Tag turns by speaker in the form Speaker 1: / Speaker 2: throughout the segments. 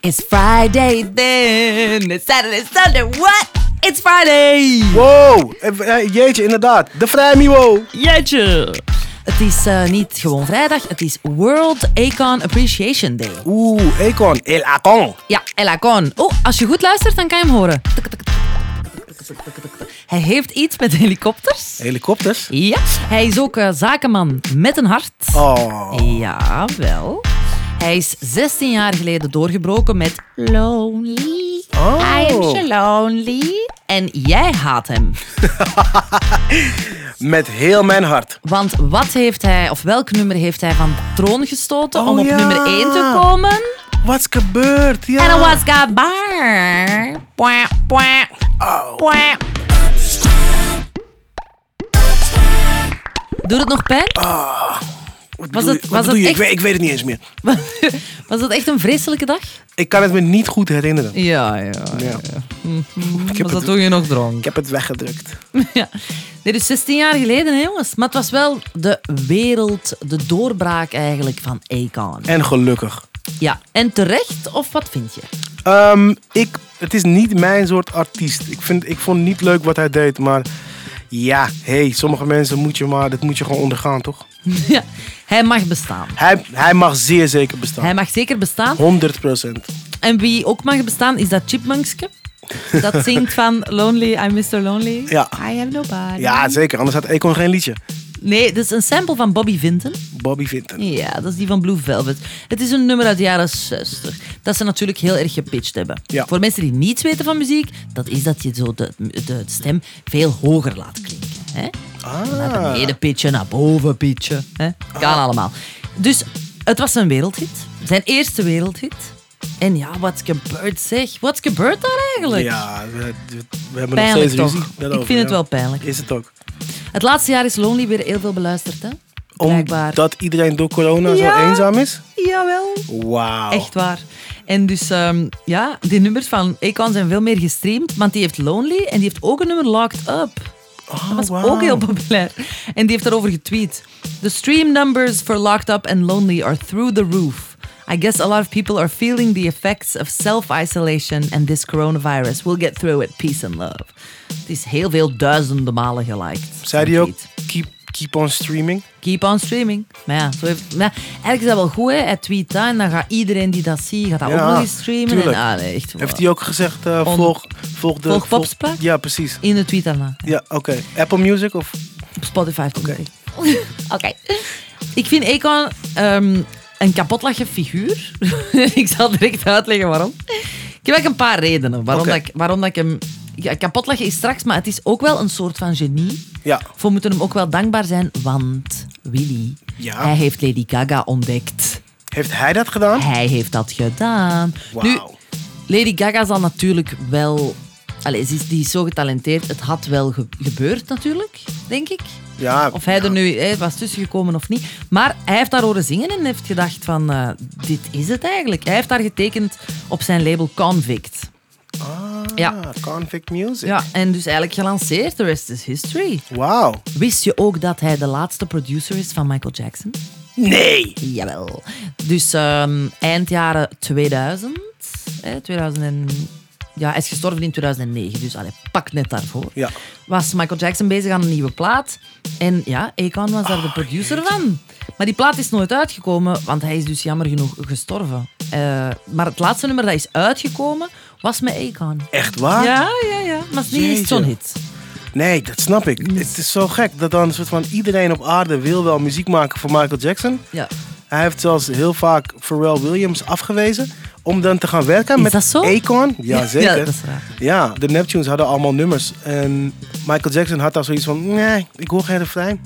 Speaker 1: It's Friday then. It's Saturday, Sunday. What? It's Friday.
Speaker 2: Wow, eh, eh, jeetje, inderdaad. De vrijmiwo.
Speaker 1: Jeetje. Het is eh, niet gewoon vrijdag. Het is World Econ Appreciation Day.
Speaker 2: Oeh, Econ, el Acon.
Speaker 1: Ja, Elacon. Oh, als je goed luistert, dan kan je hem horen. Hij heeft iets met helikopters.
Speaker 2: Helikopters.
Speaker 1: Ja. Hij is ook eh, zakenman met een hart.
Speaker 2: Oh,
Speaker 1: Ja, wel. Hij is 16 jaar geleden doorgebroken met Lonely.
Speaker 2: Oh.
Speaker 1: I am so lonely. En jij haat hem.
Speaker 2: met heel mijn hart.
Speaker 1: Want wat heeft hij, of welk nummer heeft hij van de troon gestoten om
Speaker 2: Oh,
Speaker 1: op
Speaker 2: ja.
Speaker 1: nummer 1 te komen?
Speaker 2: Wat is gebeurd? Ja.
Speaker 1: En dat was Gabar. Pwa, pwa,
Speaker 2: Oh.
Speaker 1: pwa. Doet het nog pijn?
Speaker 2: Wat
Speaker 1: was
Speaker 2: bedoel
Speaker 1: het-
Speaker 2: je?
Speaker 1: was het
Speaker 2: Wat bedoel je? Ik
Speaker 1: echt?
Speaker 2: weet- Ik weet het niet eens meer.
Speaker 1: Was dat echt een vreselijke dag?
Speaker 2: Ik kan het me niet goed herinneren.
Speaker 1: Ja, ja.
Speaker 2: Ja. Ik, heb
Speaker 1: Was dat
Speaker 2: het,
Speaker 1: toen je nog dronk?
Speaker 2: ik heb het weggedrukt.
Speaker 1: Ja. Dit is 16 jaar geleden, hè, jongens. Maar het was wel de wereld, de doorbraak eigenlijk van Akon.
Speaker 2: En gelukkig.
Speaker 1: Ja, en terecht, of wat vind je?
Speaker 2: Ehm, ik, het is niet mijn soort artiest. Ik, vind, ik vond niet leuk wat hij deed, maar ja, hey, sommige mensen moet je maar, dat moet je gewoon ondergaan, toch?
Speaker 1: Ja. Hij mag bestaan.
Speaker 2: Hij, hij mag zeer zeker bestaan.
Speaker 1: Hij mag zeker bestaan.
Speaker 2: 100 procent.
Speaker 1: En wie ook mag bestaan, is dat chipmunkske. Dat zingt van Lonely, I'm Mr. Lonely.
Speaker 2: Ja.
Speaker 1: I have nobody.
Speaker 2: Ja, zeker. Anders had Econ geen liedje.
Speaker 1: Nee, dit is een sample van Bobby Vinton.
Speaker 2: Bobby Vinton.
Speaker 1: Ja, dat is die van Blue Velvet. Het is een nummer uit de jaren 60. Dat ze natuurlijk heel erg gepitcht hebben.
Speaker 2: Ja.
Speaker 1: Voor mensen die niets weten van muziek, dat is dat je zo de, de stem veel hoger laat klinken. Hè? Naar
Speaker 2: Ah.
Speaker 1: beneden pitchen, naar boven pitchen. Hè? Kan allemaal. Dus het was een wereldhit. Zijn eerste wereldhit. En ja, wat gebeurt zeg? Wat gebeurt daar eigenlijk?
Speaker 2: Ja, we, we- we hebben
Speaker 1: Pijnlijk
Speaker 2: nog
Speaker 1: toch?
Speaker 2: steeds ruzie.
Speaker 1: Ik
Speaker 2: daarover,
Speaker 1: vind het
Speaker 2: ja.
Speaker 1: wel pijnlijk.
Speaker 2: Is het ook.
Speaker 1: Het laatste jaar is Lonely weer heel veel beluisterd, hè? Blijkbaar.
Speaker 2: Omdat iedereen door corona
Speaker 1: Ja.
Speaker 2: zo eenzaam is?
Speaker 1: Jawel.
Speaker 2: Wauw.
Speaker 1: Echt waar. En dus, ehm, ja, die nummers van Akon zijn veel meer gestreamd. Want die heeft Lonely en die heeft ook een nummer Locked Up.
Speaker 2: Oh,
Speaker 1: Dat was
Speaker 2: wauw.
Speaker 1: ook heel populair. En die heeft daarover getweet. The stream numbers for Locked Up and Lonely are through the roof. I guess a lot of people are feeling the effects of self-isolation and this coronavirus. We'll get through it. Peace and love. Het is heel veel duizenden malen geliked. zo'n
Speaker 2: Zei die ook,
Speaker 1: tweet.
Speaker 2: keep, keep on streaming?
Speaker 1: Keep on streaming. Maar ja, zo heeft, maar ja, eigenlijk is dat wel goed, hè? Hij tweet dat en dan gaat iedereen die dat ziet, gaat dat
Speaker 2: Ja,
Speaker 1: ook nog eens streamen.
Speaker 2: tuurlijk.
Speaker 1: En, ah, nee, echt,
Speaker 2: Heeft hij ook gezegd, eh,
Speaker 1: On-
Speaker 2: volg, volg de...
Speaker 1: Volg Popspraak?
Speaker 2: Ja, precies.
Speaker 1: In de tweet daarna.
Speaker 2: Ja, oké. Apple Music of...
Speaker 1: Op Spotify. Oké. Ik vind Akon ehm, een kapotlachen figuur. ik zal direct uitleggen waarom. Ik heb eigenlijk een paar redenen waarom,
Speaker 2: Oké.
Speaker 1: dat, ik, waarom dat ik hem... Ja, kapotlachen is straks, maar het is ook wel een soort van genie.
Speaker 2: Ja.
Speaker 1: We moeten hem ook wel dankbaar zijn, want Willy,
Speaker 2: Ja.
Speaker 1: hij heeft Lady Gaga ontdekt.
Speaker 2: Heeft hij dat gedaan?
Speaker 1: Hij heeft dat gedaan. Nu,
Speaker 2: Ah. Wauw.
Speaker 1: Lady Gaga zal natuurlijk wel... Allee, ze is, die is zo getalenteerd. Het had wel ge- gebeurd natuurlijk, denk ik.
Speaker 2: Ja.
Speaker 1: Of hij
Speaker 2: ja.
Speaker 1: er nu hè, was tussengekomen of niet. Maar hij heeft daar horen zingen en heeft gedacht van... eh, dit is het eigenlijk. Hij heeft daar getekend op zijn label Convict.
Speaker 2: Ah,
Speaker 1: Ja.
Speaker 2: Convict Music.
Speaker 1: Ja, en dus eigenlijk gelanceerd. The rest is history.
Speaker 2: Wauw.
Speaker 1: Wist je ook dat hij de laatste producer is van Michael Jackson?
Speaker 2: Nee!
Speaker 1: Jawel. Dus ehm, eind jaren 2000. Hè, 2000 en- ja, hij is gestorven in 2009, dus allee, pak net daarvoor.
Speaker 2: Ja.
Speaker 1: Was Michael Jackson bezig aan een nieuwe plaat. En ja, Akon was
Speaker 2: Ah,
Speaker 1: daar de producer van. Maar die plaat is nooit uitgekomen, want hij is dus jammer genoeg gestorven. Eh, maar het laatste nummer dat is uitgekomen, was met Akon.
Speaker 2: Echt waar?
Speaker 1: Ja, ja, ja. Maar het is niet
Speaker 2: Ah. Jeetje.
Speaker 1: zo'n hit.
Speaker 2: Nee, dat snap ik. Het is zo gek dat dan een soort van iedereen op aarde wil wel muziek maken voor Michael Jackson.
Speaker 1: Ja.
Speaker 2: Hij heeft zelfs heel vaak Pharrell Williams afgewezen om dan te gaan werken
Speaker 1: Is
Speaker 2: met
Speaker 1: dat zo?
Speaker 2: Akon. Ja, zeker.
Speaker 1: Ja, dat is raar.
Speaker 2: Ja, de Neptunes hadden allemaal nummers. En Michael Jackson had daar zoiets van, nee, ik hoor geen refrein.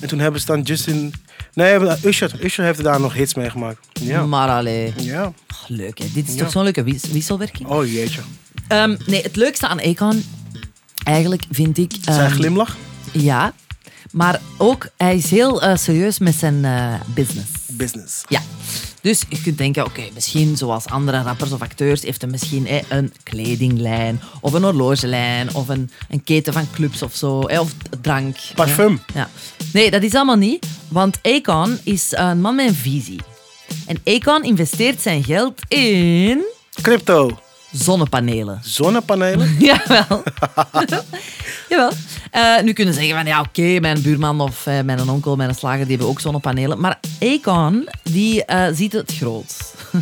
Speaker 2: En toen hebben ze dan Justin... Nee, Usher. Usher heeft daar nog hits mee gemaakt. Ja.
Speaker 1: Maar allee,
Speaker 2: Ja.
Speaker 1: oh, leuk hè. Dit is
Speaker 2: Ja.
Speaker 1: toch zo'n leuke wis- wisselwerking?
Speaker 2: Oh jeetje.
Speaker 1: Ehm, nee, het leukste aan Akon eigenlijk vind ik... ehm,
Speaker 2: Zijn glimlach?
Speaker 1: Ja. Maar ook, hij is heel eh, serieus met zijn eh, business.
Speaker 2: Business.
Speaker 1: Ja. Dus je kunt denken, oké, misschien zoals andere rappers of acteurs heeft hij misschien eh, een kledinglijn of een horlogelijn of een, een keten van clubs of zo, eh, of drank.
Speaker 2: Parfum.
Speaker 1: Ja. Ja. Nee, dat is allemaal niet, want Akon is een man met een visie. En Akon investeert zijn geld in
Speaker 2: Crypto.
Speaker 1: Zonnepanelen.
Speaker 2: Zonnepanelen.
Speaker 1: Jawel. Jawel. Eh, nu kunnen ze zeggen van ja, oké, mijn buurman of eh, mijn onkel, mijn slager, die hebben ook zonnepanelen. Maar Econ, die eh, ziet het groot.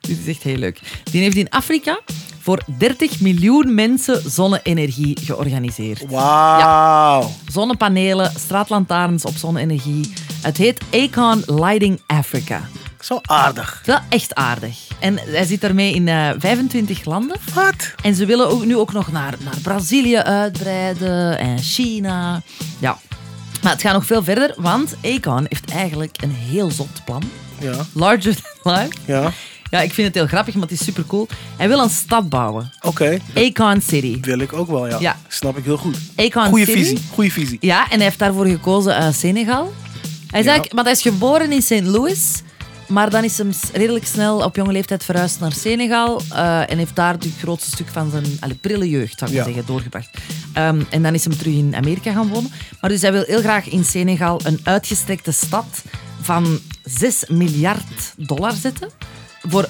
Speaker 1: Dit is echt heel leuk. Die heeft in Afrika voor 30 miljoen mensen zonne-energie georganiseerd.
Speaker 2: Wauw.
Speaker 1: Zonnepanelen, straatlantaarns op zonne-energie. Het heet Econ Lighting Africa.
Speaker 2: Zo aardig.
Speaker 1: Wel echt aardig. En hij zit daarmee in eh, 25 landen.
Speaker 2: Wat?
Speaker 1: En ze willen ook nu ook nog naar, naar Brazilië uitbreiden en China. Ja. Maar het gaat nog veel verder, want Acon heeft eigenlijk een heel zot plan.
Speaker 2: Ja,
Speaker 1: Larger than life.
Speaker 2: ja.
Speaker 1: Ja, ik vind het heel grappig, maar het is super cool. Hij wil een stad bouwen.
Speaker 2: Oké.
Speaker 1: Acon City.
Speaker 2: Wil ik ook wel, ja.
Speaker 1: Ja.
Speaker 2: Snap ik heel goed.
Speaker 1: Acon
Speaker 2: Goeie
Speaker 1: City.
Speaker 2: visie. Goeie visie.
Speaker 1: Ja, en hij heeft daarvoor gekozen eh, Senegal. Hij is
Speaker 2: Ja.
Speaker 1: eigenlijk, want hij is geboren in St. Louis, maar dan is hem s- redelijk snel op jonge leeftijd verhuisd naar Senegal eh, en heeft daar het grootste stuk van zijn allee, prille jeugd, zou ik maar
Speaker 2: Ja.
Speaker 1: zeggen, doorgebracht. Ehm, en dan is hem terug in Amerika gaan wonen. Maar dus hij wil heel graag in Senegal een uitgestrekte stad van 6 miljard dollar zetten voor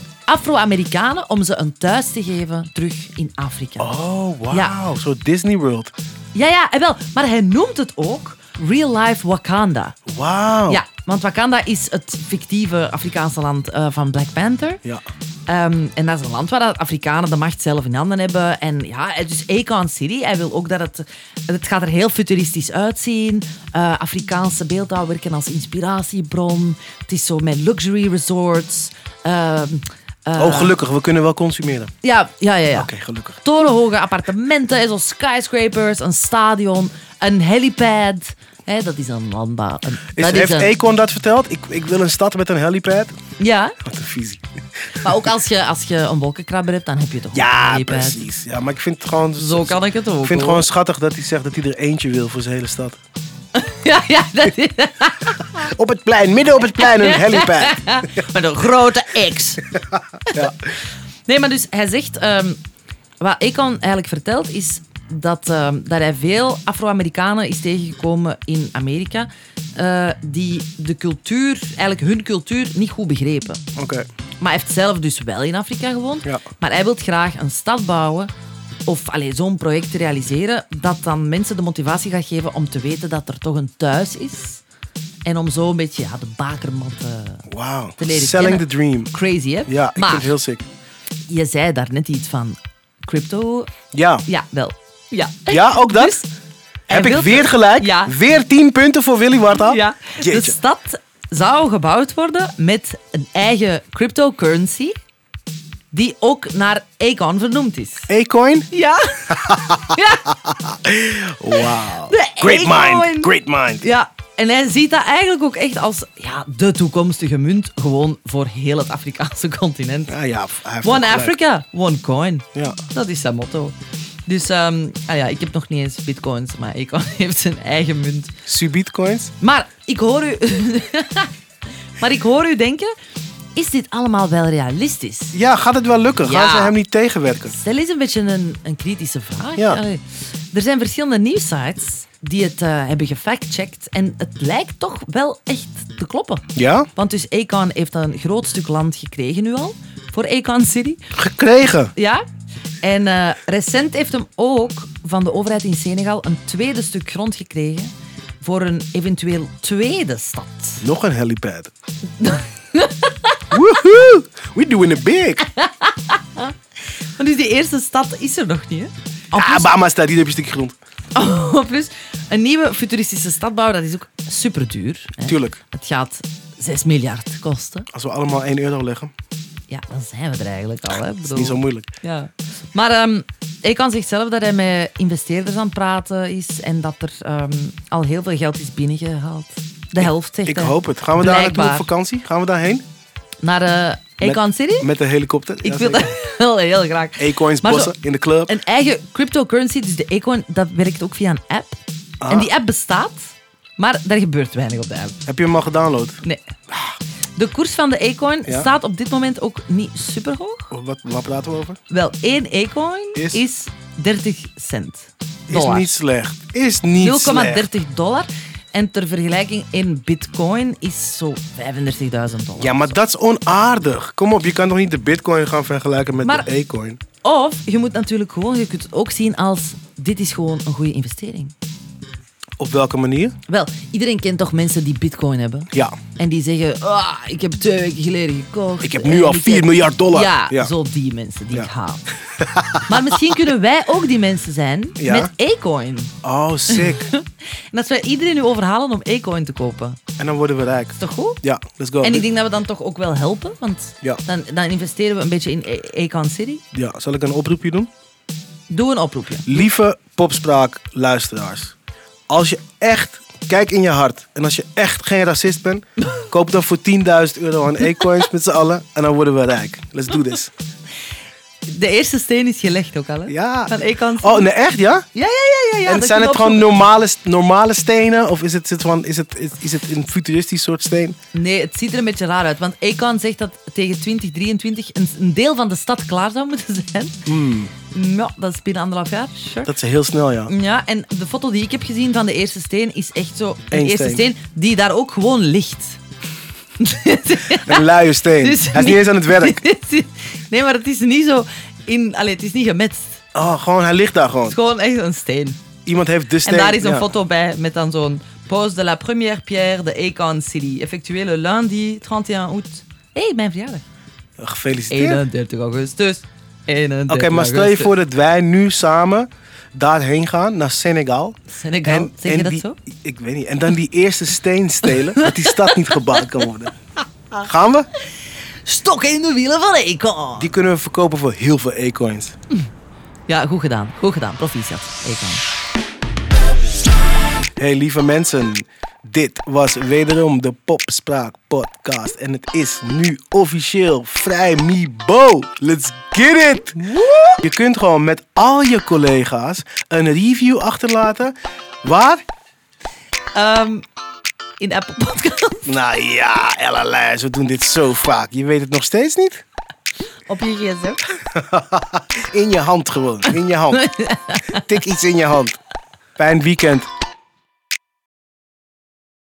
Speaker 1: Afro-Amerikanen om ze een thuis te geven terug in Afrika.
Speaker 2: Oh, wauw.
Speaker 1: Ja.
Speaker 2: Zo Disney World.
Speaker 1: Ja, ja, en wel. Maar hij noemt het ook Real Life Wakanda.
Speaker 2: Wauw.
Speaker 1: Ja, want Wakanda is het fictieve Afrikaanse land eh, van Black Panther.
Speaker 2: Ja.
Speaker 1: Ehm, en dat is een land waar de Afrikanen de macht zelf in handen hebben. En ja, dus Akon City, hij wil ook dat het... Het gaat er heel futuristisch uitzien. Eh, Afrikaanse beeldhouw werken als inspiratiebron. Het is zo met luxury resorts. Ehm, eh,
Speaker 2: oh, gelukkig. We kunnen wel consumeren. Oké,
Speaker 1: Ja, ja, ja. ja
Speaker 2: gelukkig.
Speaker 1: torenhoge appartementen, zoals skyscrapers, een stadion, een helipad. Hè, dat is een landbouw. Een,
Speaker 2: Is,
Speaker 1: dat
Speaker 2: heeft
Speaker 1: is een-
Speaker 2: Econ dat verteld? Ik, ik wil een stad met een helipad.
Speaker 1: Ja,
Speaker 2: Wat een visie.
Speaker 1: maar ook als je, als je een wolkenkrabber hebt, dan heb je toch ook een
Speaker 2: Ja,
Speaker 1: helipad.
Speaker 2: precies. Ja, maar ik vind het gewoon...
Speaker 1: Zo kan ik het ook.
Speaker 2: Ik vind het
Speaker 1: hoor.
Speaker 2: gewoon schattig dat hij zegt dat hij er eentje wil voor zijn hele stad.
Speaker 1: Ja, ja, dat is...
Speaker 2: Op het plein, midden op het plein, een helipad.
Speaker 1: Met een grote X.
Speaker 2: Ja.
Speaker 1: Nee, maar dus hij zegt... ehm, wat Econ eigenlijk vertelt, is dat, ehm, dat hij veel Afro-Amerikanen is tegengekomen in Amerika... eh, die de cultuur, eigenlijk hun cultuur, niet goed begrepen.
Speaker 2: Oké.
Speaker 1: Maar hij heeft zelf dus wel in Afrika gewoond.
Speaker 2: Ja.
Speaker 1: Maar hij wil graag een stad bouwen of allee, zo'n project realiseren dat dan mensen de motivatie gaat geven om te weten dat er toch een thuis is. En om zo een beetje ja, de bakermat te...
Speaker 2: Wauw.
Speaker 1: Te leren
Speaker 2: Selling
Speaker 1: kennen.
Speaker 2: the dream.
Speaker 1: Crazy, hè?
Speaker 2: Ja, ik
Speaker 1: maar
Speaker 2: vind het heel sick.
Speaker 1: je zei daar net iets van crypto.
Speaker 2: Ja.
Speaker 1: Ja, wel. Ja.
Speaker 2: Ja, ook dat?
Speaker 1: Dus hij
Speaker 2: Heb ik
Speaker 1: wil-
Speaker 2: weer gelijk?
Speaker 1: Ja.
Speaker 2: Weer 10 punten voor Willy Warta?
Speaker 1: Ja. Dus- De
Speaker 2: Jeetje.
Speaker 1: stad zou gebouwd worden met een eigen cryptocurrency die ook naar Acon vernoemd is.
Speaker 2: A-coin?
Speaker 1: Ja. ja.
Speaker 2: Wauw.
Speaker 1: De
Speaker 2: Great
Speaker 1: A-coin.
Speaker 2: mind. Great mind.
Speaker 1: Ja. En hij ziet dat eigenlijk ook echt als ja, de toekomstige munt gewoon voor heel het Afrikaanse continent.
Speaker 2: Ja, ja, hij heeft
Speaker 1: One
Speaker 2: wel gelijk.
Speaker 1: Africa, one coin.
Speaker 2: Ja.
Speaker 1: Dat is zijn motto. Dus ehm, ah ja, ik heb nog niet eens bitcoins, maar Econ heeft zijn eigen munt.
Speaker 2: Subitcoins?
Speaker 1: Maar ik hoor u... maar ik hoor u denken, is dit allemaal wel realistisch?
Speaker 2: Ja, gaat het wel lukken?
Speaker 1: Ja.
Speaker 2: Gaan ze hem niet tegenwerken?
Speaker 1: Stel is een beetje een, een kritische vraag.
Speaker 2: Ja.
Speaker 1: Allee, Er zijn verschillende nieuwsites die het eh, hebben gefactcheckt. En het lijkt toch wel echt te kloppen.
Speaker 2: Ja?
Speaker 1: Want dus Acon heeft een groot stuk land gekregen nu al. Voor Acon City.
Speaker 2: Gekregen.
Speaker 1: Ja. En eh, recent heeft hem ook van de overheid in Senegal een tweede stuk grond gekregen. Voor een eventueel tweede stad.
Speaker 2: Nog een helipad. Woehoe! We doing it big.
Speaker 1: Maar dus die eerste stad is er nog niet, hè? En plus-
Speaker 2: Ah, Bama staat, die heb je stukje grond.
Speaker 1: Oh, plus, een nieuwe futuristische stad bouwen, dat is ook super duur.
Speaker 2: Tuurlijk.
Speaker 1: Het gaat 6 miljard kosten.
Speaker 2: Als we allemaal 1 euro leggen,
Speaker 1: Ja, dan zijn we er eigenlijk al. Hè? Ik
Speaker 2: is
Speaker 1: bedoel,
Speaker 2: niet zo moeilijk.
Speaker 1: ja. Maar ehm Ekan zegt zelf dat hij met investeerders aan het praten is en dat er ehm, al heel veel geld is binnengehaald. De helft, zegt
Speaker 2: Ik
Speaker 1: hij.
Speaker 2: hoop het. Gaan we daar naartoe op
Speaker 1: Blijkbaar.
Speaker 2: vakantie? Gaan we daarheen?
Speaker 1: Naar eh Ekan City?
Speaker 2: Met de helikopter?
Speaker 1: Ik wil dat wel heel graag.
Speaker 2: A-coins
Speaker 1: Maar zo-
Speaker 2: bossen in de club.
Speaker 1: Een eigen cryptocurrency, dus de Econ, dat werkt ook via een app.
Speaker 2: Ah.
Speaker 1: En die app bestaat, maar daar gebeurt weinig op de app.
Speaker 2: Heb je hem al gedownload?
Speaker 1: Nee. De koers van de Acoin
Speaker 2: Ah. Ja.
Speaker 1: staat op dit moment ook niet super hoog.
Speaker 2: Wat, waar praten we over?
Speaker 1: Wel, één Acoin
Speaker 2: Is-
Speaker 1: is, 30 cent.
Speaker 2: Is
Speaker 1: Dollar.
Speaker 2: niet slecht. Is niet slecht.
Speaker 1: 0,30 dollar. En ter vergelijking in bitcoin is zo 35.000 dollar.
Speaker 2: Ja, maar dat is onaardig. Kom op, je kan toch niet de bitcoin gaan vergelijken met
Speaker 1: Maar-
Speaker 2: de e-coin?
Speaker 1: Of je moet natuurlijk gewoon, je kunt het ook zien als dit is gewoon een goede investering.
Speaker 2: Op welke manier?
Speaker 1: Wel, iedereen kent toch mensen die bitcoin hebben?
Speaker 2: Ja.
Speaker 1: En die zeggen, ah, ik heb twee weken geleden gekocht.
Speaker 2: Ik heb
Speaker 1: en
Speaker 2: nu al
Speaker 1: ik
Speaker 2: 4
Speaker 1: heb-
Speaker 2: miljard dollar.
Speaker 1: Ja,
Speaker 2: Ja.
Speaker 1: zo die mensen die
Speaker 2: Ja.
Speaker 1: ik haal. maar misschien kunnen wij ook die mensen zijn
Speaker 2: Ja.
Speaker 1: met Acoin.
Speaker 2: Oh, sick.
Speaker 1: En dat wij iedereen nu overhalen om Acoin te kopen.
Speaker 2: en dan worden we rijk.
Speaker 1: Is toch goed?
Speaker 2: Ja, let's go.
Speaker 1: En ik denk dat we dan toch ook wel helpen, want
Speaker 2: Ja.
Speaker 1: dan, dan investeren we een beetje in A- Acoin City.
Speaker 2: Ja, zal ik een oproepje doen?
Speaker 1: Doe een oproepje.
Speaker 2: Lieve popspraakluisteraars. Als je echt, kijk in je hart. En als je echt geen racist bent, koop dan voor 10.000 euro aan e-coins met z'n allen. En dan worden we rijk. Let's do this.
Speaker 1: De eerste steen is gelegd ook al, hè?
Speaker 2: Ja.
Speaker 1: Van Acoin City.
Speaker 2: Oh, nee, echt ja?
Speaker 1: Ja, ja, ja, ja. ja
Speaker 2: en
Speaker 1: dat
Speaker 2: zijn
Speaker 1: je
Speaker 2: het
Speaker 1: op-
Speaker 2: gewoon normale, st- normale stenen? Of is het, zit gewoon- is, het, is, is het een futuristisch soort steen?
Speaker 1: Nee, het ziet er een beetje raar uit. Want Akon zegt dat tegen 2023 een, een deel van de stad klaar zou moeten zijn. Ja, dat is binnen anderhalf jaar. Sure.
Speaker 2: Hmm. Dat is heel snel, ja.
Speaker 1: Ja, en de foto die ik heb gezien van de eerste steen is echt zo... Een
Speaker 2: Eén
Speaker 1: eerste
Speaker 2: steen.
Speaker 1: steen die daar ook gewoon ligt.
Speaker 2: Een luie steen.
Speaker 1: Dus
Speaker 2: Hij is niet
Speaker 1: niet-
Speaker 2: eens aan het werk.
Speaker 1: nee, maar het is niet zo... In, allee, het is niet gemetst. Het
Speaker 2: Oh, gewoon, hij ligt daar gewoon.
Speaker 1: is gewoon echt een steen.
Speaker 2: Iemand heeft de steen.
Speaker 1: En daar is een
Speaker 2: ja.
Speaker 1: foto bij met dan zo'n pose de la première pierre de Akon City. Effectueel le lundi 31 août. Hé, hey, mijn verjaardag.
Speaker 2: Oh, Gefeliciteerd.
Speaker 1: 31 augustus. 31
Speaker 2: Oké, maar stel je voor dat wij nu samen daarheen gaan, naar Senegal.
Speaker 1: Senegal, zeg je dat
Speaker 2: die-
Speaker 1: zo?
Speaker 2: Ik weet niet. En dan die eerste steen stelen, dat die stad niet gebouwd kan worden. Gaan we?
Speaker 1: Stok in de wielen van Econ.
Speaker 2: Die kunnen we verkopen voor heel veel e-coins.
Speaker 1: Ja, goed gedaan. Goed gedaan. Proficiat, Econ.
Speaker 2: Hey lieve mensen, dit was wederom de Popspraak podcast en het is nu officieel vrij Mibo. Let's get it! Je kunt gewoon met al je collega's een review achterlaten. Waar?
Speaker 1: Ehm, in de Apple Podcast.
Speaker 2: Nou ja, LLS, we doen dit zo vaak. Je weet het nog steeds niet?
Speaker 1: Op je gsm.
Speaker 2: In je hand gewoon, in je hand. Tik iets in je hand. Fijn weekend.